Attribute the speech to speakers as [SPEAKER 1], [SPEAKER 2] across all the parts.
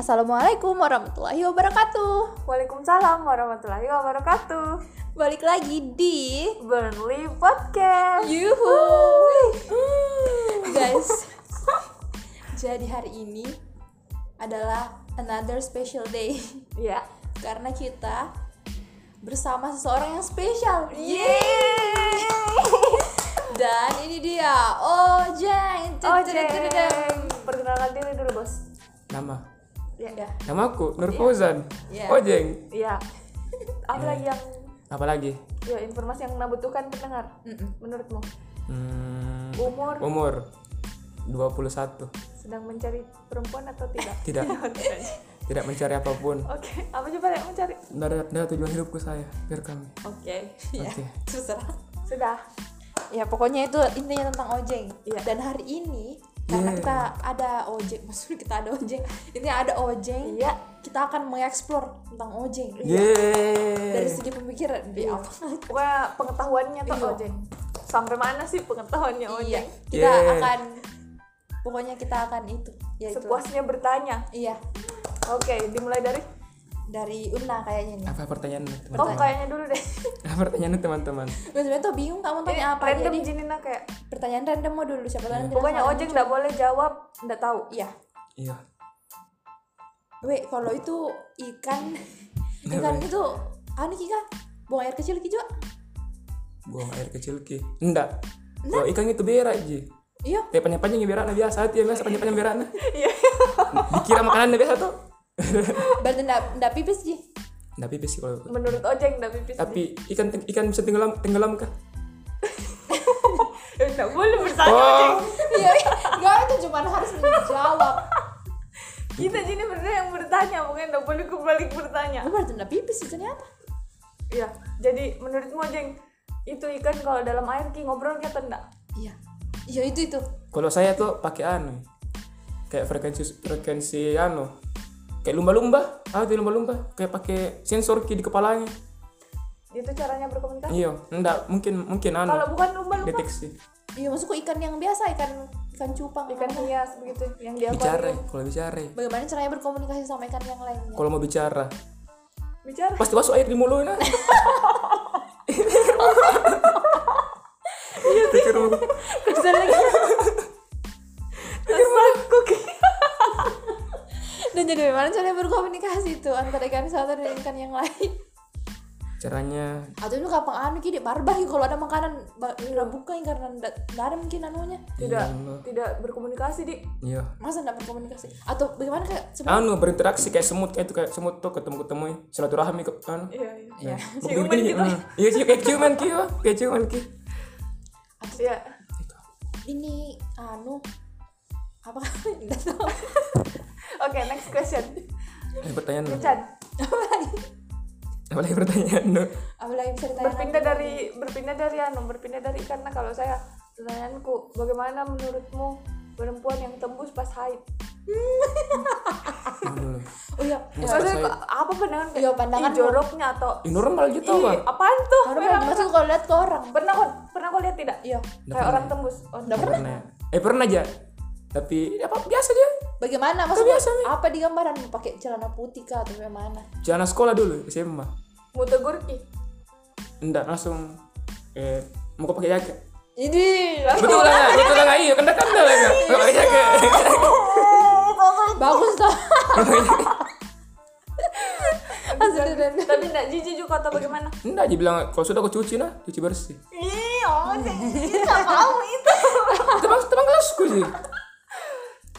[SPEAKER 1] Assalamualaikum warahmatullahi wabarakatuh.
[SPEAKER 2] Waalaikumsalam warahmatullahi wabarakatuh.
[SPEAKER 1] Balik lagi di
[SPEAKER 2] Burnley Podcast.
[SPEAKER 1] Yuhu. Guys, jadi hari ini adalah another special day
[SPEAKER 2] Ya.
[SPEAKER 1] karena kita bersama seseorang yang spesial.
[SPEAKER 2] Yeay.
[SPEAKER 1] Dan ini dia, Ojeng.
[SPEAKER 2] Oh, Jeng. Perkenalan diri dulu, Bos.
[SPEAKER 3] nama
[SPEAKER 2] Ya.
[SPEAKER 1] Udah.
[SPEAKER 3] nama aku Nur Fauzan
[SPEAKER 1] Iya.
[SPEAKER 3] Ojeng
[SPEAKER 2] Iya. Apa lagi yang
[SPEAKER 3] apalagi
[SPEAKER 2] ya informasi yang Nana butuhkan pendengar
[SPEAKER 1] Mm-mm.
[SPEAKER 2] menurutmu?
[SPEAKER 3] hmm,
[SPEAKER 2] Umur
[SPEAKER 3] umur 21
[SPEAKER 2] sedang mencari perempuan atau tidak?
[SPEAKER 3] tidak tidak mencari apapun
[SPEAKER 2] Oke, apa coba yang mencari?
[SPEAKER 3] nggak ada, nggak ada tujuan hidupku saya biar kami
[SPEAKER 2] Oke.
[SPEAKER 1] Ya,
[SPEAKER 3] Oke.
[SPEAKER 1] terserah.
[SPEAKER 2] Sudah.
[SPEAKER 1] ya pokoknya itu intinya tentang ojeng
[SPEAKER 2] Iya. Hmm.
[SPEAKER 1] dan hari ini karena
[SPEAKER 3] Yeah.
[SPEAKER 1] kita ada ojeng maksudnya kita ada ojeng ini ada ojeng
[SPEAKER 2] Iya.
[SPEAKER 1] kita akan mengeksplor tentang ojeng iya. dari
[SPEAKER 3] Yeay
[SPEAKER 1] segi pemikiran di
[SPEAKER 2] Iya.
[SPEAKER 1] awal
[SPEAKER 2] Pokoknya pengetahuannya tuh
[SPEAKER 1] Iya.
[SPEAKER 2] Ojeng. Sampai mana sih pengetahuannya
[SPEAKER 1] iya
[SPEAKER 2] Ojeng?
[SPEAKER 1] kita
[SPEAKER 3] Yeah.
[SPEAKER 1] akan pokoknya kita akan itu ya itu
[SPEAKER 2] Sepuasnya bertanya.
[SPEAKER 1] iya
[SPEAKER 2] Oke, dimulai dari
[SPEAKER 1] dari Una kayaknya nih
[SPEAKER 3] apa pertanyaannya
[SPEAKER 1] Oh,
[SPEAKER 2] Tom
[SPEAKER 3] teman-teman
[SPEAKER 2] kayaknya dulu deh.
[SPEAKER 3] apa pertanyaannya teman-teman
[SPEAKER 1] gue sebenarnya tuh bingung kamu
[SPEAKER 2] Ini
[SPEAKER 1] tanya apa
[SPEAKER 2] random
[SPEAKER 1] jadi
[SPEAKER 2] jinina kayak
[SPEAKER 1] pertanyaan random mau dulu siapa tahu nanti
[SPEAKER 2] pokoknya
[SPEAKER 1] langsung
[SPEAKER 2] ojek nggak boleh jawab nggak tahu
[SPEAKER 1] ada. iya
[SPEAKER 3] iya
[SPEAKER 1] Weh, kalau itu ikan
[SPEAKER 2] Iya,
[SPEAKER 1] ikan
[SPEAKER 3] Weh.
[SPEAKER 1] itu anu kika buang air kecil ki juga
[SPEAKER 3] buang air kecil ki enggak
[SPEAKER 1] Nah.
[SPEAKER 3] kalau ikan itu berak ji
[SPEAKER 1] iya
[SPEAKER 3] tapi panjang panjang berak nah biasa hati yang biasa panjang panjang berak nah dikira makanan nah biasa tuh
[SPEAKER 1] Berarti ndak ndak pipis sih.
[SPEAKER 3] tapi pipis sih kalau
[SPEAKER 2] menurut ojek nggak pipis
[SPEAKER 3] tapi ikan ikan bisa tenggelam tenggelam kah
[SPEAKER 2] Eh, nggak boleh bertanya ojek
[SPEAKER 3] oh
[SPEAKER 1] Iya, enggak itu cuma harus menjawab.
[SPEAKER 2] kita jadi bener yang bertanya mungkin nggak boleh kebalik bertanya
[SPEAKER 1] Lu berarti ndak pipis sih ternyata.
[SPEAKER 2] iya jadi menurutmu ojek itu ikan kalau dalam air ki ngobrol kata enggak
[SPEAKER 1] Iya. Iya itu itu.
[SPEAKER 3] Kalau saya tuh pakai anu. Kayak frekuensi frekuensi anu. Kayak lumba-lumba. Ah, itu lumba-lumba. Kayak pakai sensor ki di kepalanya.
[SPEAKER 2] itu caranya berkomunikasi
[SPEAKER 3] Iya, enggak mungkin mungkin anu.
[SPEAKER 2] kalau bukan lumba lumba
[SPEAKER 3] deteksi.
[SPEAKER 1] Iya maksudku ikan yang biasa ikan ikan cupang.
[SPEAKER 2] ikan hias begitu yang di
[SPEAKER 3] Bicara,
[SPEAKER 2] akuarium
[SPEAKER 3] kalau bicara.
[SPEAKER 1] Bagaimana caranya berkomunikasi sama ikan yang lainnya?
[SPEAKER 3] Kalau mau bicara,
[SPEAKER 2] bicara
[SPEAKER 3] pasti masuk air di mulut nah.
[SPEAKER 2] Iya,
[SPEAKER 3] Pikir lu.
[SPEAKER 1] Bisa lagi.
[SPEAKER 2] Tersangkut.
[SPEAKER 1] Dan jadi bagaimana caranya berkomunikasi itu antara ikan satu dan ikan yang lain?
[SPEAKER 3] Caranya
[SPEAKER 1] Atau itu kapan anu kiri barbar kalau ada makanan ba- ndak buka ya, karena ndak ndak ada mungkin anunya.
[SPEAKER 2] tidak
[SPEAKER 3] Ya Allah.
[SPEAKER 2] tidak berkomunikasi di
[SPEAKER 3] Iya.
[SPEAKER 1] Masa ndak berkomunikasi? Atau bagaimana kayak sebenarnya
[SPEAKER 3] Anu berinteraksi kayak semut kayak itu kayak semut tuh ketemu-ketemu silaturahmi ke anu.
[SPEAKER 2] iya iya
[SPEAKER 1] Iya.
[SPEAKER 3] Begini-
[SPEAKER 2] Ciuman
[SPEAKER 3] begini,
[SPEAKER 2] gitu.
[SPEAKER 3] eh, Iya, cium- kayak ciuman ki, wah. kayak ciuman ki.
[SPEAKER 2] iya
[SPEAKER 1] ini anu apa ndak tahu.
[SPEAKER 2] oke next question
[SPEAKER 3] Eh, pertanyaan lu.
[SPEAKER 2] Chan
[SPEAKER 1] Apa lagi?
[SPEAKER 3] Apa lagi pertanyaan lu?
[SPEAKER 1] Apa lagi bisa ditanya?
[SPEAKER 2] berpindah dari berpindah dari anu berpindah dari karena kalau saya pertanyaanku bagaimana menurutmu perempuan yang tembus pas haid
[SPEAKER 3] Ini dulu.
[SPEAKER 1] Oh iya,
[SPEAKER 3] Mas
[SPEAKER 2] Maksudnya,
[SPEAKER 3] haid.
[SPEAKER 2] apa pandangan kayak
[SPEAKER 1] Iya, pandangan
[SPEAKER 2] "Ih, joroknya atau
[SPEAKER 3] Ini normal gitu
[SPEAKER 2] Ih, oh,
[SPEAKER 3] apa?
[SPEAKER 2] apaan tuh
[SPEAKER 1] baru
[SPEAKER 2] Merah.
[SPEAKER 1] maksud kalau lihat ke orang.
[SPEAKER 2] pernah kau pernah kau lihat tidak
[SPEAKER 1] Iya.
[SPEAKER 2] kayak orang tembus oh
[SPEAKER 1] Nggak pernah.
[SPEAKER 3] Pernah. Eh pernah aja. Tapi ya, apa biasa aja.
[SPEAKER 1] Bagaimana maksudnya?
[SPEAKER 3] biasa, Mi.
[SPEAKER 1] apa di gambaran pakai celana putih kah atau bagaimana?
[SPEAKER 3] Jangan sekolah dulu SMA.
[SPEAKER 2] mau tegur ih
[SPEAKER 3] Enggak langsung eh mau kau pakai jaket.
[SPEAKER 1] Ini
[SPEAKER 3] Betul lah, nggak? betul lah nggak? iya, kena kena lah nggak? Mau pakai jaket.
[SPEAKER 1] bagus tuh.
[SPEAKER 3] Mau pakai jaket.
[SPEAKER 1] Asli dan
[SPEAKER 2] tapi tidak jijik juga atau bagaimana
[SPEAKER 3] Enggak aja bilang kalau sudah kau cuci nah, cuci bersih.
[SPEAKER 2] ih oh tidak mau itu
[SPEAKER 3] Teman teman kelasku sih.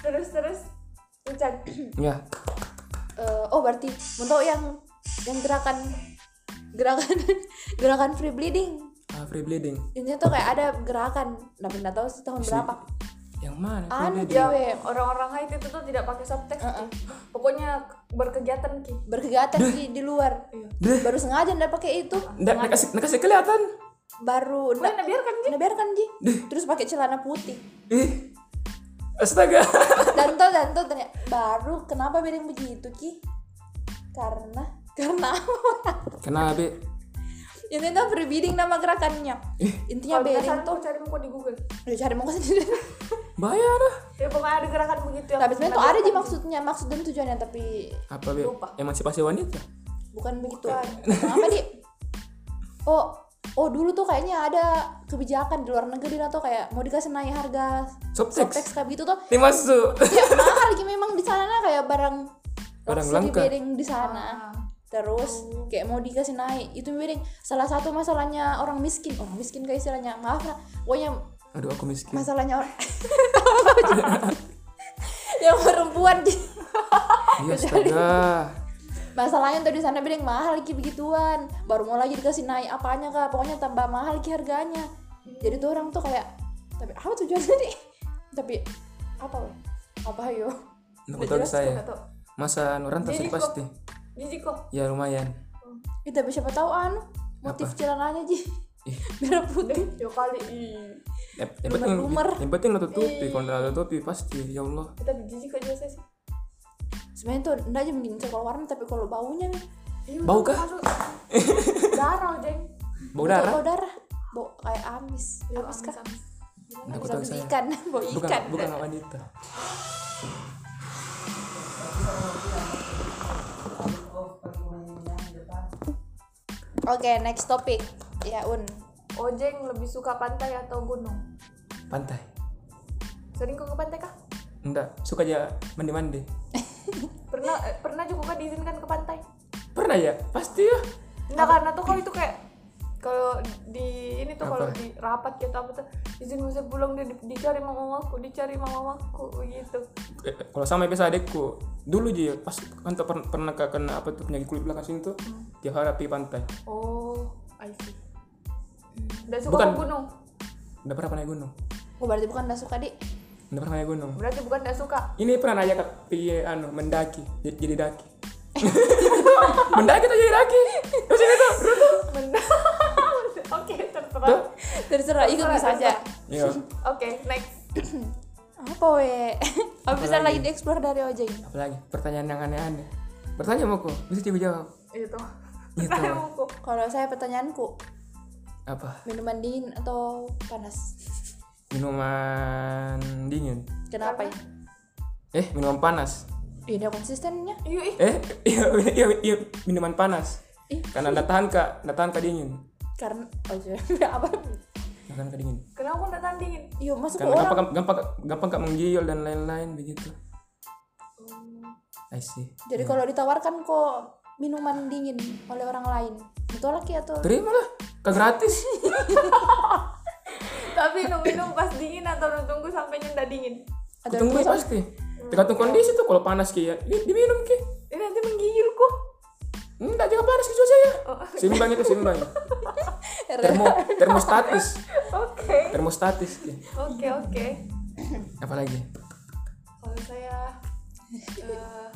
[SPEAKER 2] terus terus Ucan
[SPEAKER 3] Ya,
[SPEAKER 1] Eh, oh berarti untuk yang yang gerakan gerakan gerakan free bleeding.
[SPEAKER 3] ah, free bleeding.
[SPEAKER 1] Ini tuh kayak ada gerakan, tapi nggak tahu sih tahun berapa.
[SPEAKER 3] Yang mana? Free
[SPEAKER 1] Anu
[SPEAKER 3] bleeding.
[SPEAKER 2] ya
[SPEAKER 1] cewek
[SPEAKER 2] orang-orang haid itu tuh tidak pakai subtext Ki. pokoknya berkegiatan ki
[SPEAKER 1] berkegiatan di, di luar.
[SPEAKER 3] Deh,
[SPEAKER 1] Baru sengaja ndak pakai itu,
[SPEAKER 3] enggak enggak kasih enggak kasih kelihatan.
[SPEAKER 1] baru ndak-
[SPEAKER 2] mana biarkan Ki.
[SPEAKER 1] Nah, biarkan Ji. Terus pakai celana putih.
[SPEAKER 3] Ih. Astaga.
[SPEAKER 1] Danto danto ternyata baru kenapa bilang begitu Ki? Karena karena
[SPEAKER 3] Kenapa,
[SPEAKER 2] Iya.
[SPEAKER 3] Be?
[SPEAKER 1] intinya free bidding nama gerakannya. Intinya
[SPEAKER 2] Kalau
[SPEAKER 1] bidding
[SPEAKER 2] penasaran,
[SPEAKER 1] Iya, tuh
[SPEAKER 2] kau cari muka di Google
[SPEAKER 1] udah cari muka sendiri.
[SPEAKER 3] bahaya dah
[SPEAKER 2] ya pokoknya ada gerakan begitu yang
[SPEAKER 1] tapi sebenarnya tuh ada
[SPEAKER 2] menandakan
[SPEAKER 1] sih maksudnya maksud dan tujuannya tapi
[SPEAKER 3] apa be
[SPEAKER 2] Lupa.
[SPEAKER 3] emansipasi wanita
[SPEAKER 1] bukan begitu
[SPEAKER 2] Bukan.
[SPEAKER 1] Emang apa di oh oh dulu tuh kayaknya ada kebijakan di luar negeri atau kayak mau dikasih naik harga
[SPEAKER 3] Softsex.
[SPEAKER 1] softsex kayak gitu tuh
[SPEAKER 3] ini masuk
[SPEAKER 1] ya mahal lagi memang di sana nah, kayak barang
[SPEAKER 3] Barang
[SPEAKER 1] luxury
[SPEAKER 3] langka.
[SPEAKER 1] wedding di sana
[SPEAKER 2] Ah.
[SPEAKER 1] terus kayak mau dikasih naik itu wedding salah satu masalahnya orang miskin orang miskin kayak istilahnya maaf lah pokoknya
[SPEAKER 3] aduh aku miskin
[SPEAKER 1] masalahnya orang yang perempuan
[SPEAKER 3] iya astaga
[SPEAKER 1] masalahnya tuh di sana bilang mahal lagi begituan baru mau lagi dikasih naik apanya kak pokoknya tambah mahal lagi harganya jadi tuh orang tuh kayak tapi apa tujuannya nih tapi apa weh apa yo
[SPEAKER 3] aku tahu
[SPEAKER 2] Jelas tuh,
[SPEAKER 3] saya
[SPEAKER 2] nggak tahu.
[SPEAKER 3] masa nuran tahu
[SPEAKER 2] Jadi
[SPEAKER 3] sih pasti
[SPEAKER 2] jijik kok
[SPEAKER 3] ya lumayan
[SPEAKER 1] Ih, tapi siapa tahu anu motif
[SPEAKER 3] Apa?
[SPEAKER 1] celananya ji merah putih
[SPEAKER 2] ya kali ih.
[SPEAKER 3] Eh, yang penting
[SPEAKER 1] Lumer-lumer.
[SPEAKER 3] yang penting lo tutupi
[SPEAKER 2] Iya.
[SPEAKER 3] kalau nggak tutupi pasti ya Allah
[SPEAKER 2] kita jijik aja ya. saya sih
[SPEAKER 1] sebenarnya tuh enggak aja mending kalau warna tapi kalau baunya nih
[SPEAKER 2] Ih,
[SPEAKER 3] Bau
[SPEAKER 2] masuk-
[SPEAKER 3] kah?
[SPEAKER 2] masuk. darah jeng
[SPEAKER 3] bau darah
[SPEAKER 1] bau darah bau kayak amis
[SPEAKER 2] Ya,
[SPEAKER 1] amis kah
[SPEAKER 3] aku tahu
[SPEAKER 1] amis
[SPEAKER 3] saya
[SPEAKER 1] ikan bau
[SPEAKER 3] bukan
[SPEAKER 1] ikan
[SPEAKER 3] bukan wanita
[SPEAKER 1] oke next topic ya un
[SPEAKER 2] ojeng Oh, lebih suka pantai atau gunung
[SPEAKER 3] pantai
[SPEAKER 2] sering kok ke pantai kah
[SPEAKER 3] enggak suka aja mandi-mandi
[SPEAKER 2] pernah eh, pernah juga kok diizinkan ke pantai
[SPEAKER 3] pernah ya pasti ya
[SPEAKER 2] enggak karena tuh kalau itu kayak kalau di ini tuh kalau
[SPEAKER 3] Apa?
[SPEAKER 2] di rapat gitu apa tuh izin musim pulang dia di- dicari sama mamaku dicari sama mamaku gitu
[SPEAKER 3] Eh, kalau sama biasa adekku dulu aja pas kan tak pern- pernah ke- kena apa tuh penyakit kulit belakang sini tuh
[SPEAKER 2] Hmm.
[SPEAKER 3] tiap hari pergi pantai
[SPEAKER 2] oh I see dan suka
[SPEAKER 3] Bukan.
[SPEAKER 2] ke gunung
[SPEAKER 3] udah pernah naik gunung
[SPEAKER 1] oh berarti bukan enggak suka di
[SPEAKER 3] udah pernah naik gunung
[SPEAKER 2] berarti bukan gak suka
[SPEAKER 3] ini pernah naik ke pergi anu mendaki jadi, jadi daki mendaki tuh jadi daki
[SPEAKER 1] Iya.
[SPEAKER 3] terus ini tuh
[SPEAKER 2] Men- oke
[SPEAKER 3] tuh
[SPEAKER 2] terserah
[SPEAKER 1] terserah itu
[SPEAKER 2] Terserah,
[SPEAKER 1] bisa aja
[SPEAKER 2] terserah.
[SPEAKER 3] iya
[SPEAKER 2] oke next
[SPEAKER 1] apa we apa bisa
[SPEAKER 3] lagi?
[SPEAKER 1] lagi dieksplor dari ojeng
[SPEAKER 3] apalagi pertanyaan yang aneh-aneh bertanya mau kok bisa coba jawab
[SPEAKER 2] itu
[SPEAKER 3] Gitu.
[SPEAKER 2] Saya mau kok.
[SPEAKER 1] kalau saya pertanyaanku
[SPEAKER 3] apa
[SPEAKER 1] minuman dingin atau panas
[SPEAKER 3] minuman dingin
[SPEAKER 1] kenapa ya
[SPEAKER 3] eh minuman panas
[SPEAKER 1] ini konsistennya
[SPEAKER 2] Iya, ih,
[SPEAKER 3] eh iya iya iya minuman panas
[SPEAKER 1] Ih.
[SPEAKER 3] karena nggak tahan kak nggak tahan kak dingin
[SPEAKER 1] karena oh sorry. apa
[SPEAKER 3] nggak tahan kak dingin
[SPEAKER 2] kenapa aku nggak tahan dingin?
[SPEAKER 1] iya masuk ke
[SPEAKER 3] karena
[SPEAKER 1] orang
[SPEAKER 3] gampang gampang gampang kak menggigil dan lain-lain begitu I see
[SPEAKER 1] Oh.
[SPEAKER 3] Iya.
[SPEAKER 1] jadi kalau ditawarkan kok minuman dingin oleh orang lain ditolak ya atau
[SPEAKER 3] terima lah kak gratis
[SPEAKER 2] Tapi minum-minum pas dingin atau lu tunggu sampai nyendak dingin?
[SPEAKER 1] atau
[SPEAKER 3] tunggu
[SPEAKER 1] besok?
[SPEAKER 3] pasti tergantung kondisi tuh kalau panas ki ya di- diminum ki
[SPEAKER 2] Ini nanti menggigil kok.
[SPEAKER 3] enggak "Hmm, jangan panas ki saya seimbang itu seimbang termo termostatis
[SPEAKER 2] Oke,
[SPEAKER 3] termostatis ki
[SPEAKER 2] oke, oke.
[SPEAKER 3] apalagi
[SPEAKER 2] Kalau saya eh,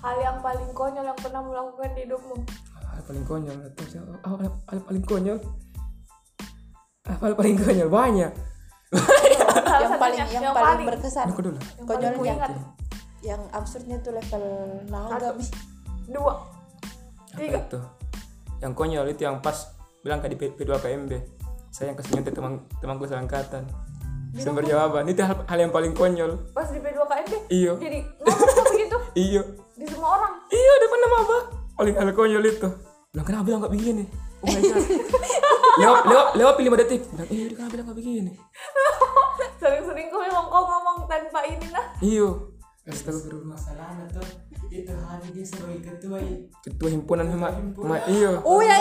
[SPEAKER 2] hal yang paling konyol yang pernah melakukan di hidupmu.
[SPEAKER 3] hal paling konyol atau siapa oh, hal, hal paling konyol apa hal paling konyol banyak
[SPEAKER 2] Salah
[SPEAKER 1] yang
[SPEAKER 2] satunya,
[SPEAKER 1] paling yang, paling, berkesan
[SPEAKER 3] aku dulu
[SPEAKER 2] yang paling
[SPEAKER 1] konyolnya
[SPEAKER 2] kuingat.
[SPEAKER 1] yang absurdnya tuh level naga
[SPEAKER 2] Satu.
[SPEAKER 1] Bi.
[SPEAKER 2] Dua.
[SPEAKER 3] apa itu yang konyol itu yang pas bilang ke di P- P2 KMB saya yang kasih nyontek teman temanku seangkatan sumber jawaban itu hal, hal yang paling konyol
[SPEAKER 2] Pas di P2KMB.
[SPEAKER 3] Iya.
[SPEAKER 2] Jadi ngomong tuh begitu
[SPEAKER 3] iyo
[SPEAKER 2] di semua orang.
[SPEAKER 3] iyo depan nama apa paling hal konyol itu bilang kenapa bilang nggak begini oh my god lewat lewat lewat lima detik bilang iyo kenapa bilang nggak begini
[SPEAKER 2] Sering-sering kau memang kau ngomong tanpa ini lah.
[SPEAKER 3] iyo Astagfirullah
[SPEAKER 4] masalahnya tuh itu hari dia sebagai ketua itu
[SPEAKER 3] ketua himpunan sama sama iyo
[SPEAKER 1] oh ya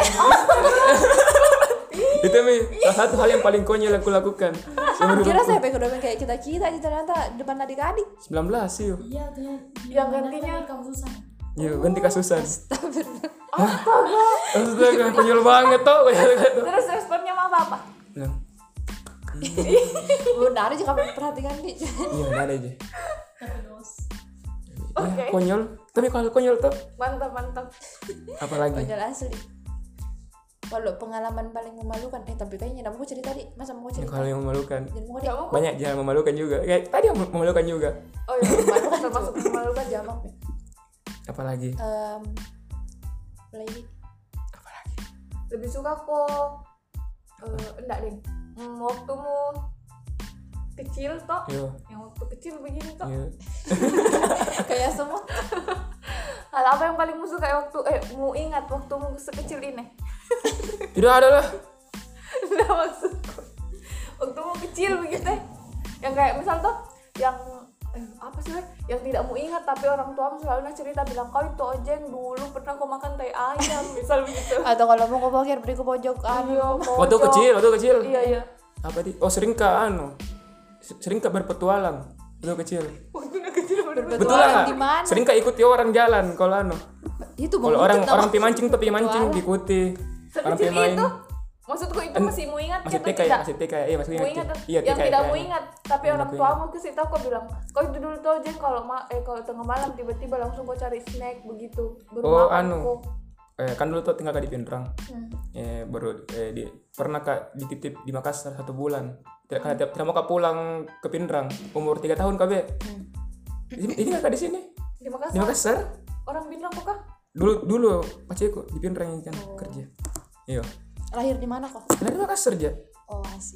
[SPEAKER 3] itu mi salah satu hal yang paling konyol yang aku lakukan seumur
[SPEAKER 1] Ah, kira
[SPEAKER 3] hidupku.
[SPEAKER 1] saya pengen domain kayak kita kita aja ternyata depan adik-adik
[SPEAKER 3] 19 iyo
[SPEAKER 5] Iya, ternyata
[SPEAKER 2] Yang gantinya
[SPEAKER 5] kamu susah.
[SPEAKER 3] iyo ganti kasusan astaga konyol banget tau konyol banget tau.
[SPEAKER 2] Terus responnya sama apa?
[SPEAKER 3] Bilang,
[SPEAKER 1] benar aja kamu perhatikan Bi.
[SPEAKER 3] iya ada aja
[SPEAKER 5] Tapi dos.
[SPEAKER 2] Oke.
[SPEAKER 3] Ya, konyol tapi kalau konyol tuh
[SPEAKER 2] Mantap, mantap.
[SPEAKER 3] apa lagi
[SPEAKER 1] konyol asli kalau pengalaman paling memalukan eh tapi kayaknya nggak mau gua cerita di masa mau gua cerita
[SPEAKER 3] kalau yang memalukan
[SPEAKER 1] jangan mau
[SPEAKER 2] Gak
[SPEAKER 1] deh
[SPEAKER 2] mau
[SPEAKER 3] banyak jalan memalukan juga kayak tadi yang memalukan juga
[SPEAKER 2] Oh iya, memalukan termasuk kan, memalukan jamak.
[SPEAKER 1] jamak
[SPEAKER 3] apalagi
[SPEAKER 1] um, lagi
[SPEAKER 3] apalagi
[SPEAKER 2] Lebih suka kok eh enggak deh. Hmm, waktumu kecil toh
[SPEAKER 3] Iya.
[SPEAKER 2] yang waktu kecil begini toh
[SPEAKER 3] Iya.
[SPEAKER 1] kayak semua
[SPEAKER 2] hal apa yang paling musuh kayak waktu eh mau ingat waktu sekecil ini
[SPEAKER 3] Tidak ada lah.
[SPEAKER 2] nah maksudku waktu mau kecil begitu eh. yang kayak misal tuh yang eh, apa sih weh? yang tidak mau ingat tapi orang tuamu selalu cerita bilang kau itu ojeng dulu pernah kau makan tai ayam misal begitu
[SPEAKER 1] atau kalau mau ke parkir beri ke pojokan
[SPEAKER 3] Waktu
[SPEAKER 2] pojok.
[SPEAKER 3] kecil, waktu kecil.
[SPEAKER 2] iya iya
[SPEAKER 3] Apa di? Oh, sering ke anu. Se- Sering ke berpetualang. Waktu kecil.
[SPEAKER 2] waktu udah kecil bener-bener
[SPEAKER 1] Berpetualang
[SPEAKER 3] Betul lah.
[SPEAKER 1] di mana?
[SPEAKER 3] Sering ke ikuti orang jalan kalau anu.
[SPEAKER 1] itu
[SPEAKER 3] Kalau orang
[SPEAKER 1] mengutuk
[SPEAKER 3] orang
[SPEAKER 1] tau.
[SPEAKER 3] pi mancing tuh pi
[SPEAKER 1] Petualang.
[SPEAKER 3] mancing diikuti. Orang pi
[SPEAKER 2] sekecil
[SPEAKER 3] main.
[SPEAKER 2] itu maksudku itu masih mau ingat
[SPEAKER 3] Masih
[SPEAKER 2] atau
[SPEAKER 3] TK ya,
[SPEAKER 2] tidak
[SPEAKER 3] masih TK ya. Iya, masih
[SPEAKER 2] mau
[SPEAKER 3] ingat.
[SPEAKER 2] ingat
[SPEAKER 3] Iya,
[SPEAKER 2] yang
[SPEAKER 3] TK ya,
[SPEAKER 2] tidak mau
[SPEAKER 3] kayaknya.
[SPEAKER 2] ingat tapi
[SPEAKER 3] Yang
[SPEAKER 2] orang
[SPEAKER 3] aku
[SPEAKER 2] tuamu ke situ aku bilang kau itu dulu tuh ojeng kalau ma eh kalau tengah malam tiba-tiba langsung kau cari snack begitu baru
[SPEAKER 3] Oh,
[SPEAKER 2] makan
[SPEAKER 3] anu.
[SPEAKER 2] kau.
[SPEAKER 3] Eh, kan dulu tuh tinggal di Pindrang. Eh, baru eh, di, pernah kak dititip di Makassar satu bulan. Tidak karena tidak, tidak mau kak pulang ke Pindrang. Umur tiga tahun kak be. Ini, ini kakak di sini
[SPEAKER 2] terima
[SPEAKER 3] di
[SPEAKER 2] kasih
[SPEAKER 3] Makassar.
[SPEAKER 2] orang bilang kok kah
[SPEAKER 3] Dulu dulu pacarku di Pindrang ini kan kerja. Iya.
[SPEAKER 1] lahir di mana kok
[SPEAKER 3] Nah, di Makassar aja.
[SPEAKER 1] oh asih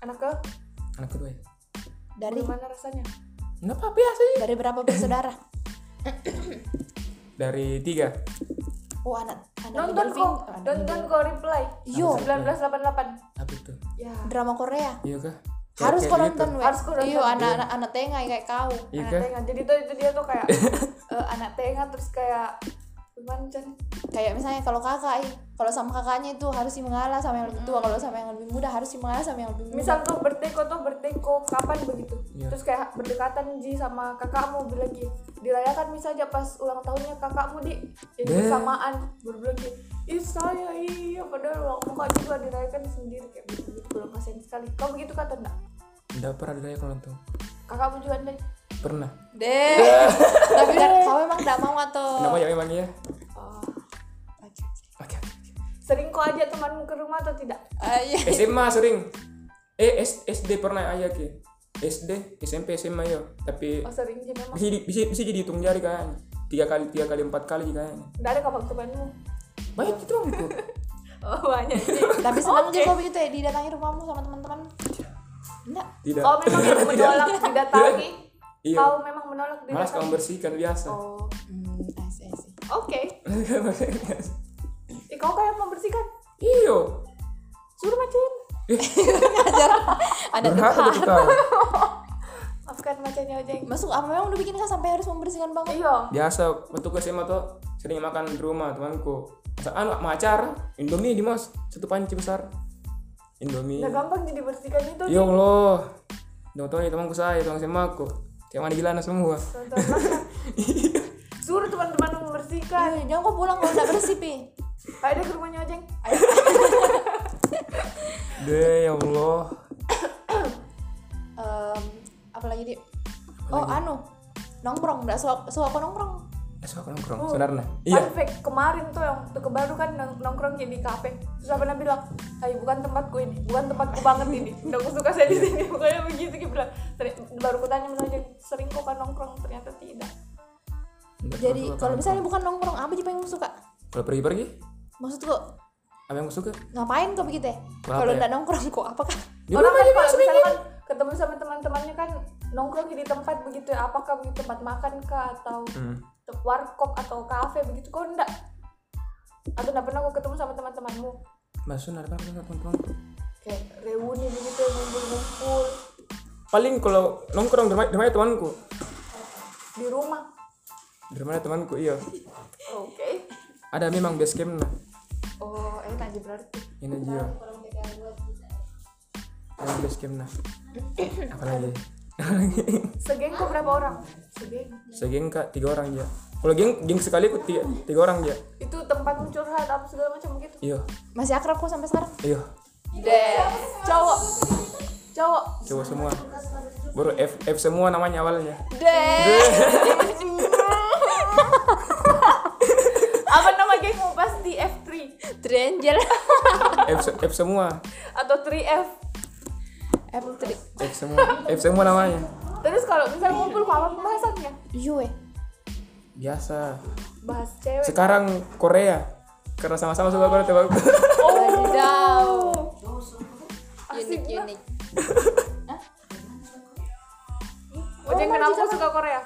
[SPEAKER 2] anak ke
[SPEAKER 3] Anak kedua ya.
[SPEAKER 1] dari
[SPEAKER 2] gimana rasanya
[SPEAKER 3] Nggak apa-apa ya sih.
[SPEAKER 1] dari berapa bersaudara
[SPEAKER 3] Dari tiga.
[SPEAKER 1] oh anak anak
[SPEAKER 2] nonton
[SPEAKER 1] middle
[SPEAKER 2] kok
[SPEAKER 1] finger- anak
[SPEAKER 2] nonton
[SPEAKER 1] middle-
[SPEAKER 2] kok reply
[SPEAKER 1] Yo.
[SPEAKER 2] 1988
[SPEAKER 3] Apa itu?
[SPEAKER 2] ya
[SPEAKER 1] drama Korea
[SPEAKER 3] Iya kah? Kayak-
[SPEAKER 1] harus
[SPEAKER 3] kayak
[SPEAKER 1] kau
[SPEAKER 3] gitu.
[SPEAKER 1] nonton weh.
[SPEAKER 2] Harus kau nonton.
[SPEAKER 1] Iya, anak-anak anak tengah kayak kau
[SPEAKER 3] Iya
[SPEAKER 2] anak
[SPEAKER 3] kah?
[SPEAKER 2] tengah jadi tuh itu dia tuh kayak eh, anak tengah terus kayak gimana Chan?
[SPEAKER 1] kayak misalnya kalau kakak ih, kalau sama kakaknya itu harus sih mengalah sama yang lebih tua kalau sama yang lebih muda harus sih mengalah sama yang lebih muda
[SPEAKER 2] misal tuh berteko tuh berteko kapan begitu
[SPEAKER 3] Iya.
[SPEAKER 2] terus kayak berdekatan Ji sama kakakmu bilang Ji dirayakan misalnya pas ulang tahunnya kakakmu di jadi
[SPEAKER 3] Deh.
[SPEAKER 2] bersamaan berbilang Ji ih saya iya padahal waktu kakak juga dirayakan sendiri kayak begitu begitu pulang kasihan sekali kau begitu kata enggak
[SPEAKER 3] Nggak pernah dirayakan nonton.
[SPEAKER 2] kakakmu juga enggak
[SPEAKER 3] Pernah.
[SPEAKER 1] deh tapi kan kau emang tidak mau atau
[SPEAKER 3] Kenapa ya memang ya?
[SPEAKER 2] Oh.
[SPEAKER 1] Oke.
[SPEAKER 3] Oke.
[SPEAKER 2] sering kau ajak temanmu ke rumah atau tidak
[SPEAKER 1] Ah, iya.
[SPEAKER 3] SMA sering. Eh S- SD pernah aja ki. SD, SMP, SMA yo. Tapi
[SPEAKER 2] oh sering Ji memang
[SPEAKER 3] bisa, di- bisa, bisa jadi hitung jari kan. Tiga kali, tiga kali, empat kali kayaknya.
[SPEAKER 2] enggak ada kapan temanmu
[SPEAKER 3] Banyak itu om itu.
[SPEAKER 2] oh banyak Ji
[SPEAKER 1] tapi senang
[SPEAKER 2] Oke.
[SPEAKER 1] juga begitu ya didatangi rumahmu sama teman-teman enggak
[SPEAKER 3] Tidak.
[SPEAKER 2] kau Oh, memang yang menolak didatangi
[SPEAKER 3] Ya. Iya.
[SPEAKER 2] kau memang menolak
[SPEAKER 3] Malas
[SPEAKER 2] didatangi
[SPEAKER 3] kamu bersihkan biasa.
[SPEAKER 2] oh
[SPEAKER 1] hmm, I see, I see.
[SPEAKER 2] oke Ih, kau kayak membersihkan
[SPEAKER 3] Iyo.
[SPEAKER 2] suruh macan
[SPEAKER 1] ada
[SPEAKER 3] Berhak
[SPEAKER 1] tukang.
[SPEAKER 3] begitu kamu.
[SPEAKER 2] maafkan macannya aja
[SPEAKER 1] masuk apa memang udah bikin kan sampai harus membersihkan banget
[SPEAKER 2] iya
[SPEAKER 3] Biasa waktu ke SMA tuh sering makan di rumah temanku. Masak anu mau acara Indomie di mas satu panci besar. Indomie.
[SPEAKER 2] nggak gampang jadi bersihkan itu
[SPEAKER 3] Ya Allah. Nontonnya temanku saya, teman SMA aku. Teman di gilana semua.
[SPEAKER 2] Tonton makan.
[SPEAKER 3] Iya.
[SPEAKER 2] suruh teman-teman membersihkan
[SPEAKER 1] Iya, jangan kau pulang kalau tidak bersih pi
[SPEAKER 2] ayo deh ke rumahnya aja
[SPEAKER 3] Deh ya Allah.
[SPEAKER 1] Em, apalagi di oh anu nongkrong enggak suka suka kau nongkrong
[SPEAKER 3] Eh, suka nongkrong sebenarnya. Iya.
[SPEAKER 2] Fun fact, kemarin tuh yang tuh kebaru kan nong- nongkrong kayak di kafe. Terus apa bilang, "Hai, bukan tempatku ini, bukan tempatku banget ini. Nggak aku suka saya di sini." Pokoknya begitu dia bilang. Teri- Baru aku tanya sama Jeng, "Sering kok kan nongkrong?" Ternyata tidak.
[SPEAKER 3] Nggak
[SPEAKER 1] jadi kalau
[SPEAKER 3] suka nongkrong.
[SPEAKER 1] misalnya bukan nongkrong apa sih yang kamu suka
[SPEAKER 3] kalau pergi-pergi
[SPEAKER 1] maksud kok
[SPEAKER 3] apa yang aku suka?
[SPEAKER 1] ngapain kok begitu ya
[SPEAKER 3] Kenapa
[SPEAKER 1] kalau
[SPEAKER 3] ya?
[SPEAKER 1] enggak nongkrong kok apakah
[SPEAKER 3] Di
[SPEAKER 2] Orang
[SPEAKER 3] rumah
[SPEAKER 2] kan
[SPEAKER 3] aja
[SPEAKER 2] kalau
[SPEAKER 3] biasa kayak
[SPEAKER 2] misalkan ketemu sama teman-temannya kan nongkrong di tempat begitu ya, apakah di tempat makan kah atau
[SPEAKER 3] Hmm.
[SPEAKER 2] te- warkop atau kafe begitu kok enggak? Atau enggak pernah kok ketemu sama teman-temanmu?
[SPEAKER 3] Maksudnya ada apa nongkrong?
[SPEAKER 2] Kayak reuni begitu yang ngumpul-ngumpul
[SPEAKER 3] Paling kalau nongkrong di rumah, di rumahnya temanku.
[SPEAKER 2] di rumah.
[SPEAKER 3] Di rumahnya temanku, iya.
[SPEAKER 2] Oke.
[SPEAKER 3] Ada memang base camp nah.
[SPEAKER 2] Oh, enak aja berarti.
[SPEAKER 3] Ini dia. Memang base camp nah. Apalagi? Apalagi?
[SPEAKER 2] Segeng kok berapa orang? Segeng.
[SPEAKER 3] Segeng kak, tiga orang dia. Kalau geng, geng sekali aku tiga, tiga orang dia.
[SPEAKER 2] Itu tempat curhat apa segala macam gitu. begitu.
[SPEAKER 3] Iya,
[SPEAKER 1] masih akrab kok sampai sekarang
[SPEAKER 3] iya.
[SPEAKER 2] Deh. Cowok. Cowok.
[SPEAKER 3] Coba semua. Baru F, F semua namanya awalnya.
[SPEAKER 1] deh
[SPEAKER 2] Apa nama gengmu pasti F3
[SPEAKER 1] Stranger
[SPEAKER 3] F, se- F semua.
[SPEAKER 2] atau 3F.
[SPEAKER 1] F3
[SPEAKER 3] F semua. F semua namanya.
[SPEAKER 2] Terus kalau misal ngumpul kok apa pembahasannya?
[SPEAKER 1] Yue
[SPEAKER 3] Biasa.
[SPEAKER 2] Bahas cewek.
[SPEAKER 3] Sekarang Korea. Karena sama-sama suka Korea tebak.
[SPEAKER 2] Oh.
[SPEAKER 1] Wadidaw Oh. Unik
[SPEAKER 2] Asik banget.
[SPEAKER 1] unik
[SPEAKER 2] Ojeng kenapa Oh, suka Korea?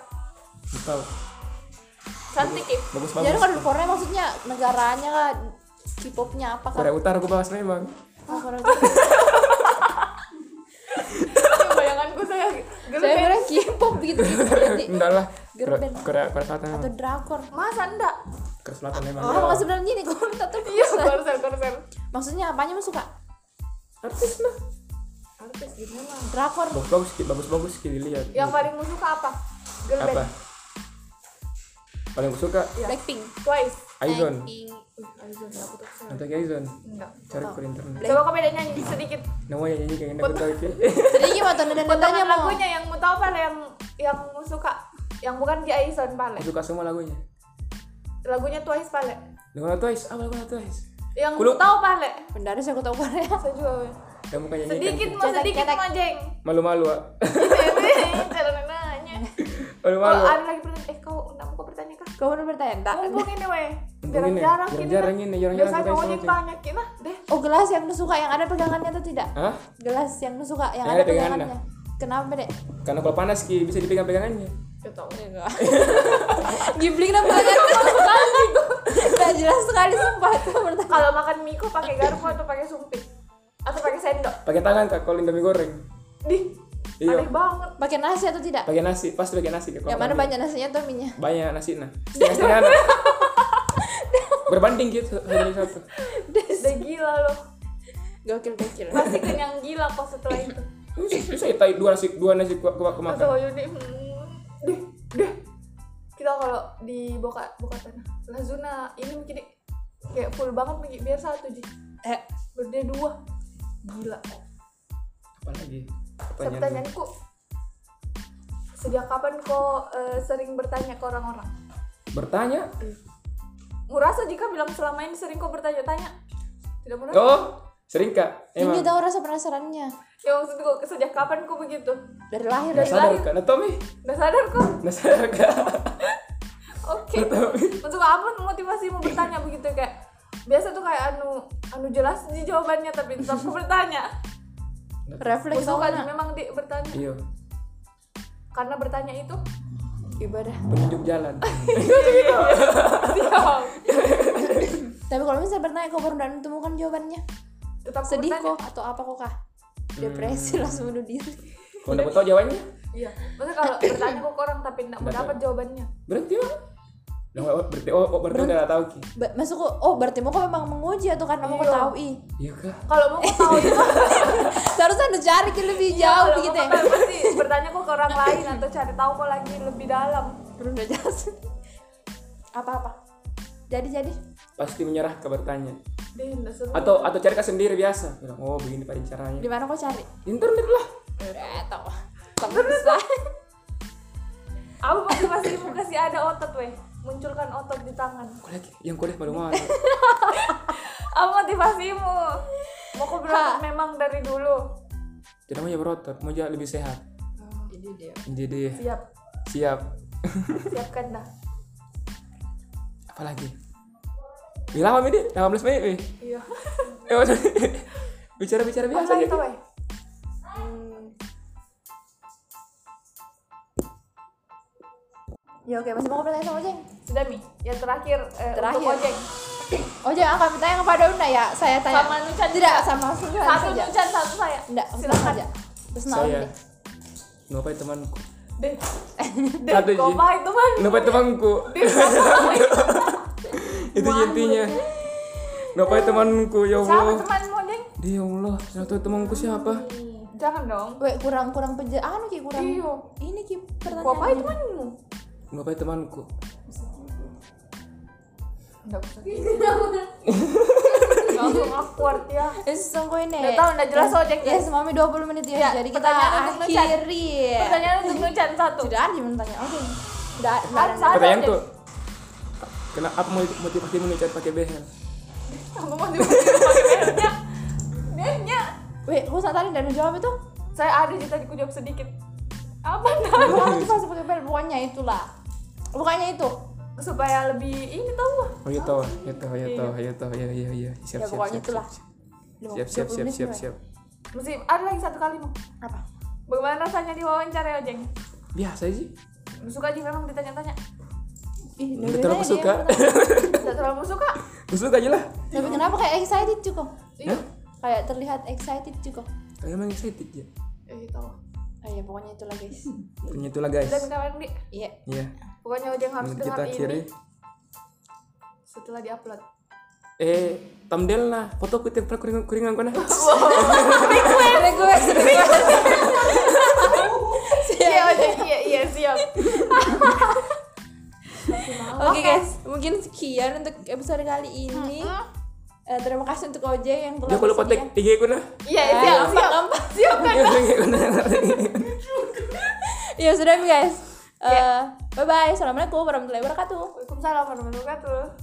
[SPEAKER 3] Nggak tahu
[SPEAKER 2] Cantik ya?
[SPEAKER 3] bagus
[SPEAKER 1] Jadi
[SPEAKER 3] bagus
[SPEAKER 1] kalau di Korea maksudnya negaranya kak K-popnya apa kak?
[SPEAKER 3] Korea Utara gue bahas memang
[SPEAKER 1] Ah, Korea.
[SPEAKER 2] Ini bayanganku saya ya. girl
[SPEAKER 1] Saya
[SPEAKER 2] band.
[SPEAKER 1] bilang K-pop gitu gitu berarti.
[SPEAKER 3] enggak lah
[SPEAKER 1] Girl
[SPEAKER 3] Korea
[SPEAKER 1] band.
[SPEAKER 3] Korea Korea Selatan memang.
[SPEAKER 1] atau drakor.
[SPEAKER 2] Masa enggak?
[SPEAKER 3] Korea Selatan memang
[SPEAKER 1] Oh, maka sebenarnya ini korea tuh
[SPEAKER 2] Iya, korsel, korsel
[SPEAKER 1] Maksudnya apanya mas suka?
[SPEAKER 3] artis lah
[SPEAKER 2] Artis gitu memang
[SPEAKER 1] Drakor.
[SPEAKER 3] bagus bagus bagus bagus dilihat
[SPEAKER 2] Yang paling mu suka apa? Girl
[SPEAKER 3] apa
[SPEAKER 2] band
[SPEAKER 3] paling gue suka
[SPEAKER 2] Iya.
[SPEAKER 1] Blackpink.
[SPEAKER 2] Twice
[SPEAKER 3] Aizon
[SPEAKER 1] Blackpink.
[SPEAKER 2] Wih, Aizon ya, aku tuh kesel.
[SPEAKER 3] nanti Aizon
[SPEAKER 2] Enggak
[SPEAKER 3] cari ke internet
[SPEAKER 2] Coba kau bedanya nyanyi sedikit
[SPEAKER 3] namanya nyanyi kayak enak gue tahu
[SPEAKER 1] Jadi gimana tuh dan
[SPEAKER 2] Potongan
[SPEAKER 1] nadanya mau?
[SPEAKER 2] lagunya yang mu tahu pala yang yang mu suka Yang bukan di Aizon pala
[SPEAKER 3] Aku suka semua lagunya
[SPEAKER 2] Lagunya Twice pala
[SPEAKER 3] lagu Twice apa lagu Twice
[SPEAKER 2] Yang
[SPEAKER 3] Kulu.
[SPEAKER 2] mu tahu pala
[SPEAKER 1] Bendaris aku tahu Korea.
[SPEAKER 2] Saya juga weh.
[SPEAKER 3] yang bukan nyanyi
[SPEAKER 2] Sedikit
[SPEAKER 3] kan.
[SPEAKER 2] mau
[SPEAKER 1] Cetek,
[SPEAKER 2] sedikit
[SPEAKER 1] cetek.
[SPEAKER 2] mau jeng
[SPEAKER 3] malu-malu ah.
[SPEAKER 2] Jalan nanya Oh
[SPEAKER 3] malu-malu
[SPEAKER 2] ada lagi pertanyaan Eh kau undang kau bertanya kah?
[SPEAKER 1] Kau bener bertanya enggak?
[SPEAKER 2] Mumpung ini weh
[SPEAKER 3] Mumpung ini,
[SPEAKER 2] Jarang-jarang
[SPEAKER 3] jarang-jarang
[SPEAKER 2] kan.
[SPEAKER 3] ini, jarang-jarang
[SPEAKER 2] Biasanya
[SPEAKER 3] suka
[SPEAKER 2] ojek
[SPEAKER 3] isi ojek.
[SPEAKER 2] banyak kita deh
[SPEAKER 1] Oh gelas yang lu suka yang ada pegangannya atau tidak?
[SPEAKER 3] Hah?
[SPEAKER 1] Gelas yang lu suka yang
[SPEAKER 3] Yang
[SPEAKER 1] ada
[SPEAKER 3] ada pegangannya.
[SPEAKER 1] pegangannya. Kenapa dek?
[SPEAKER 3] Karena kalau panas ki bisa dipegang-pegangannya.
[SPEAKER 2] Gak tau
[SPEAKER 1] Ghibli kenapa pegangannya? Gak jelas sekali sumpah tuh bertanya.
[SPEAKER 2] Kalau makan mie kok pakai garpu atau pakai sumpit? Atau pakai sendok?
[SPEAKER 3] Pakai tangan kak kalau indomie goreng.
[SPEAKER 2] Di
[SPEAKER 3] Iya.
[SPEAKER 2] aneh banget
[SPEAKER 1] Pakai nasi atau tidak?
[SPEAKER 3] Pakai nasi, pasti pakai nasi kak. kalau
[SPEAKER 1] Yang mana
[SPEAKER 3] panas.
[SPEAKER 1] banyak nasinya atau minyak?
[SPEAKER 3] Banyak nasi nah. Setengah-setengah. nah. Berbanding gitu satu banding satu.
[SPEAKER 2] Udah gila loh
[SPEAKER 1] Gokil gokil.
[SPEAKER 2] Pasti kenyang gila kok setelah itu
[SPEAKER 3] Bisa, bisa kita ya, dua nasi dua nasi kuak kuak
[SPEAKER 2] Masa
[SPEAKER 3] kemakan.
[SPEAKER 2] Wayu nih hmm, Deh deh Kita kalau di Boka Boka Tanah Lazuna ini mungkin di- kayak full banget Miki. biar satu Ji
[SPEAKER 1] Eh,
[SPEAKER 2] Berdua dua Gila
[SPEAKER 3] Apa lagi? Pertanyaan.
[SPEAKER 2] Pertanyaanku Sejak kapan kau eh, sering bertanya ke orang-orang?
[SPEAKER 3] Bertanya?
[SPEAKER 2] Murasa jika kan bilang selama ini sering kau bertanya-tanya? Tidak murasa?
[SPEAKER 3] Oh, sering kak.
[SPEAKER 1] ini
[SPEAKER 3] Emang.
[SPEAKER 1] tahu rasa penasarannya
[SPEAKER 2] Ya maksudku sejak kapan kok begitu?
[SPEAKER 1] dari lahir
[SPEAKER 3] Nggak
[SPEAKER 1] dari
[SPEAKER 3] sadar
[SPEAKER 2] lahir.
[SPEAKER 3] kak. Nah Tommy,
[SPEAKER 2] Udah sadar kok.
[SPEAKER 3] nggak sadar kak.
[SPEAKER 2] Oke. Maksudmu apa motivasimu bertanya begitu kayak biasa tuh kayak anu anu jelas di jawabannya tapi tetap aku bertanya.
[SPEAKER 1] refleks
[SPEAKER 2] Aku
[SPEAKER 1] tahu
[SPEAKER 2] suka di-
[SPEAKER 1] nggak?
[SPEAKER 2] memang di bertanya
[SPEAKER 3] Iya.
[SPEAKER 2] karena bertanya itu
[SPEAKER 1] ibadah.
[SPEAKER 3] Penunjuk jalan.
[SPEAKER 2] siap.
[SPEAKER 1] Tapi kalau misalnya bertanya kau baru dan menemukan jawabannya,
[SPEAKER 2] tetap aku
[SPEAKER 1] sedih
[SPEAKER 2] bertanya.
[SPEAKER 1] kok atau apa kok kah? Depresi langsung bunuh diri.
[SPEAKER 3] Kalau dapat tahu jawabannya,
[SPEAKER 2] Iya. Maksudnya kalau bertanya kok ke orang tapi tidak mau
[SPEAKER 3] Nggak
[SPEAKER 2] dapat jawabannya.
[SPEAKER 3] berhenti mah. Nah, berarti oh, oh berarti udah tahu ki.
[SPEAKER 1] Ba- Maksudku, oh berarti mau kau memang menguji atau karena mau kau
[SPEAKER 2] Iya.
[SPEAKER 1] tahu ih.
[SPEAKER 3] Iya kak.
[SPEAKER 2] Kalau mau kau tahu itu
[SPEAKER 1] Seharusnya udah cari ke lebih jauh
[SPEAKER 2] kalau
[SPEAKER 1] gitu
[SPEAKER 2] gitu
[SPEAKER 1] ya.
[SPEAKER 2] pasti bertanya kok ke orang lain atau cari tahu kok lagi lebih dalam.
[SPEAKER 1] Belum udah jelas. Apa-apa. Jadi jadi
[SPEAKER 3] Pasti menyerah ke bertanya.
[SPEAKER 2] Deh, nggak seru.
[SPEAKER 3] atau atau cari kau sendiri biasa Bilang, oh begini paling caranya
[SPEAKER 1] di mana kau cari?
[SPEAKER 3] internet lah
[SPEAKER 1] Eh, tahu. Temen besar.
[SPEAKER 2] Apa motivasimu kasih ada otot weh? Munculkan otot di tangan.
[SPEAKER 3] kau lagi yang kuliah malu malu
[SPEAKER 2] Apa motivasimu? Mau kau berotot memang dari dulu.
[SPEAKER 3] tidak mau ya berotot mau jadi lebih sehat
[SPEAKER 2] Oh,
[SPEAKER 1] Jadi dia.
[SPEAKER 3] jadi
[SPEAKER 2] Siap,
[SPEAKER 3] siap
[SPEAKER 2] siapkan dah.
[SPEAKER 3] apalagi Wih, lama ini 18 menit wih.
[SPEAKER 2] Iya.
[SPEAKER 3] Eh, maksud- bicara bicara
[SPEAKER 2] Apa
[SPEAKER 3] biasa
[SPEAKER 2] lagi
[SPEAKER 3] gitu. aja
[SPEAKER 2] tuh
[SPEAKER 1] eh?
[SPEAKER 2] weh?
[SPEAKER 1] Hmm. Ya oke, masih mau kau bertanya sama Jeng?
[SPEAKER 2] Sudah mi. Yang terakhir, eh,
[SPEAKER 1] Terakhir.
[SPEAKER 2] untuk ojek.
[SPEAKER 1] Oh jangan akan bertanya kepada Una ya, saya tanya.
[SPEAKER 2] Sama Nucan
[SPEAKER 1] tidak sama sudah
[SPEAKER 2] Satu
[SPEAKER 1] saja.
[SPEAKER 2] Nucan, satu saya.
[SPEAKER 1] Enggak, silakan
[SPEAKER 2] Silakan.
[SPEAKER 1] aja. Terus nah,
[SPEAKER 3] saya
[SPEAKER 1] deh.
[SPEAKER 3] nupai temanku
[SPEAKER 2] Deh. Deh,
[SPEAKER 3] Satu, Ji.
[SPEAKER 2] kopai teman.
[SPEAKER 3] nupai temanku
[SPEAKER 2] Deh, kopai.
[SPEAKER 3] itu intinya nupai temanku
[SPEAKER 2] ya.
[SPEAKER 3] ya
[SPEAKER 2] Siapa
[SPEAKER 3] allah
[SPEAKER 2] temanmu ojek?
[SPEAKER 3] dia ya allah satu temanku siapa
[SPEAKER 2] Jangan dong.
[SPEAKER 1] Weh, kurang kurang penjelasan anu ki kurang.
[SPEAKER 2] Iya.
[SPEAKER 1] Ini ki pertanyaan.
[SPEAKER 2] Kopai temanmu.
[SPEAKER 3] nupai temanku
[SPEAKER 2] Enggak usah. Langsung awkward ya.
[SPEAKER 1] Eh, sesungguhnya
[SPEAKER 2] Nggak tahu, nggak jelas, ojek,
[SPEAKER 1] Ya,
[SPEAKER 2] guys.
[SPEAKER 1] semami 20 menit ya.
[SPEAKER 2] Ya,
[SPEAKER 1] Jadi kita
[SPEAKER 2] pertanyaan untuk Nucan.
[SPEAKER 1] akhiri.
[SPEAKER 2] Pertanyaan untuk Nucan satu.
[SPEAKER 1] Sudah ada yang bertanya. Oke. Sudah sudah
[SPEAKER 2] Ada,
[SPEAKER 1] ada.
[SPEAKER 2] ada,
[SPEAKER 3] pertanyaan
[SPEAKER 2] ada.
[SPEAKER 3] tuh kenapa apa motivasi mengecat pakai behel
[SPEAKER 2] Kamu mau dibunuh pakai behel-nya? Behel-nya.
[SPEAKER 1] Weh, kok saat tadi dan jawab itu?
[SPEAKER 2] Saya ada di tadi ku jawab sedikit. Apa
[SPEAKER 1] Aku
[SPEAKER 2] dah?
[SPEAKER 1] harus pas pakai bel, bukannya itulah. Bukannya itu.
[SPEAKER 2] Supaya lebih ini tahu.
[SPEAKER 3] Oh iya tahu, iya tahu, iya tahu, iya tahu, iya iya iya.
[SPEAKER 1] Ya,
[SPEAKER 3] Siap siap
[SPEAKER 1] pokoknya
[SPEAKER 3] siap.
[SPEAKER 1] itulah.
[SPEAKER 3] Siap siap siap siap siap. siap.
[SPEAKER 2] Mesti ada lagi satu kali mau.
[SPEAKER 1] Apa?
[SPEAKER 2] Bagaimana rasanya diwawancara ya, Jeng?
[SPEAKER 3] biasa
[SPEAKER 1] Iya,
[SPEAKER 3] sih
[SPEAKER 2] Suka aja memang ditanya-tanya.
[SPEAKER 1] Ih,
[SPEAKER 3] Nggak
[SPEAKER 1] dua-duanya
[SPEAKER 3] terlalu
[SPEAKER 1] dia
[SPEAKER 3] suka.
[SPEAKER 1] yang pertama.
[SPEAKER 2] Tidak terlalu suka.
[SPEAKER 3] suka aja lah
[SPEAKER 1] Tapi kenapa kayak excited cukup?
[SPEAKER 2] Iya.
[SPEAKER 1] Kayak terlihat excited cukup.
[SPEAKER 3] kayak emang excited ya
[SPEAKER 2] Eh, tahu.
[SPEAKER 1] Ah, ya pokoknya itulah guys.
[SPEAKER 3] Punya itulah guys
[SPEAKER 2] Dan kawan di
[SPEAKER 1] Iya.
[SPEAKER 3] Iya
[SPEAKER 2] pokoknya Ojeng harus
[SPEAKER 3] Mari
[SPEAKER 2] dengar
[SPEAKER 3] kita akhiri
[SPEAKER 2] ini setelah diupload.
[SPEAKER 3] eh thumbnail lah foto ku template kuringan kuringan kau nah
[SPEAKER 1] Ada gue sering.
[SPEAKER 2] Iya, Ojeng. Iya, iya, siap.
[SPEAKER 1] Oke guys, mungkin sekian untuk episode kali
[SPEAKER 2] Hmm.
[SPEAKER 1] ini.
[SPEAKER 2] Iya,
[SPEAKER 1] Eh, terima kasih untuk OJ yang telah
[SPEAKER 3] dia kalau foto
[SPEAKER 1] bersedia.
[SPEAKER 3] tiga kau nah
[SPEAKER 2] Iya,
[SPEAKER 1] Eh,
[SPEAKER 2] siap, siap.
[SPEAKER 1] gampang.
[SPEAKER 2] Siap kan?
[SPEAKER 1] Ya sudah guys. Eh, bye bye. Assalamualaikum warahmatullahi wabarakatuh.
[SPEAKER 2] Waalaikumsalam warahmatullahi wabarakatuh.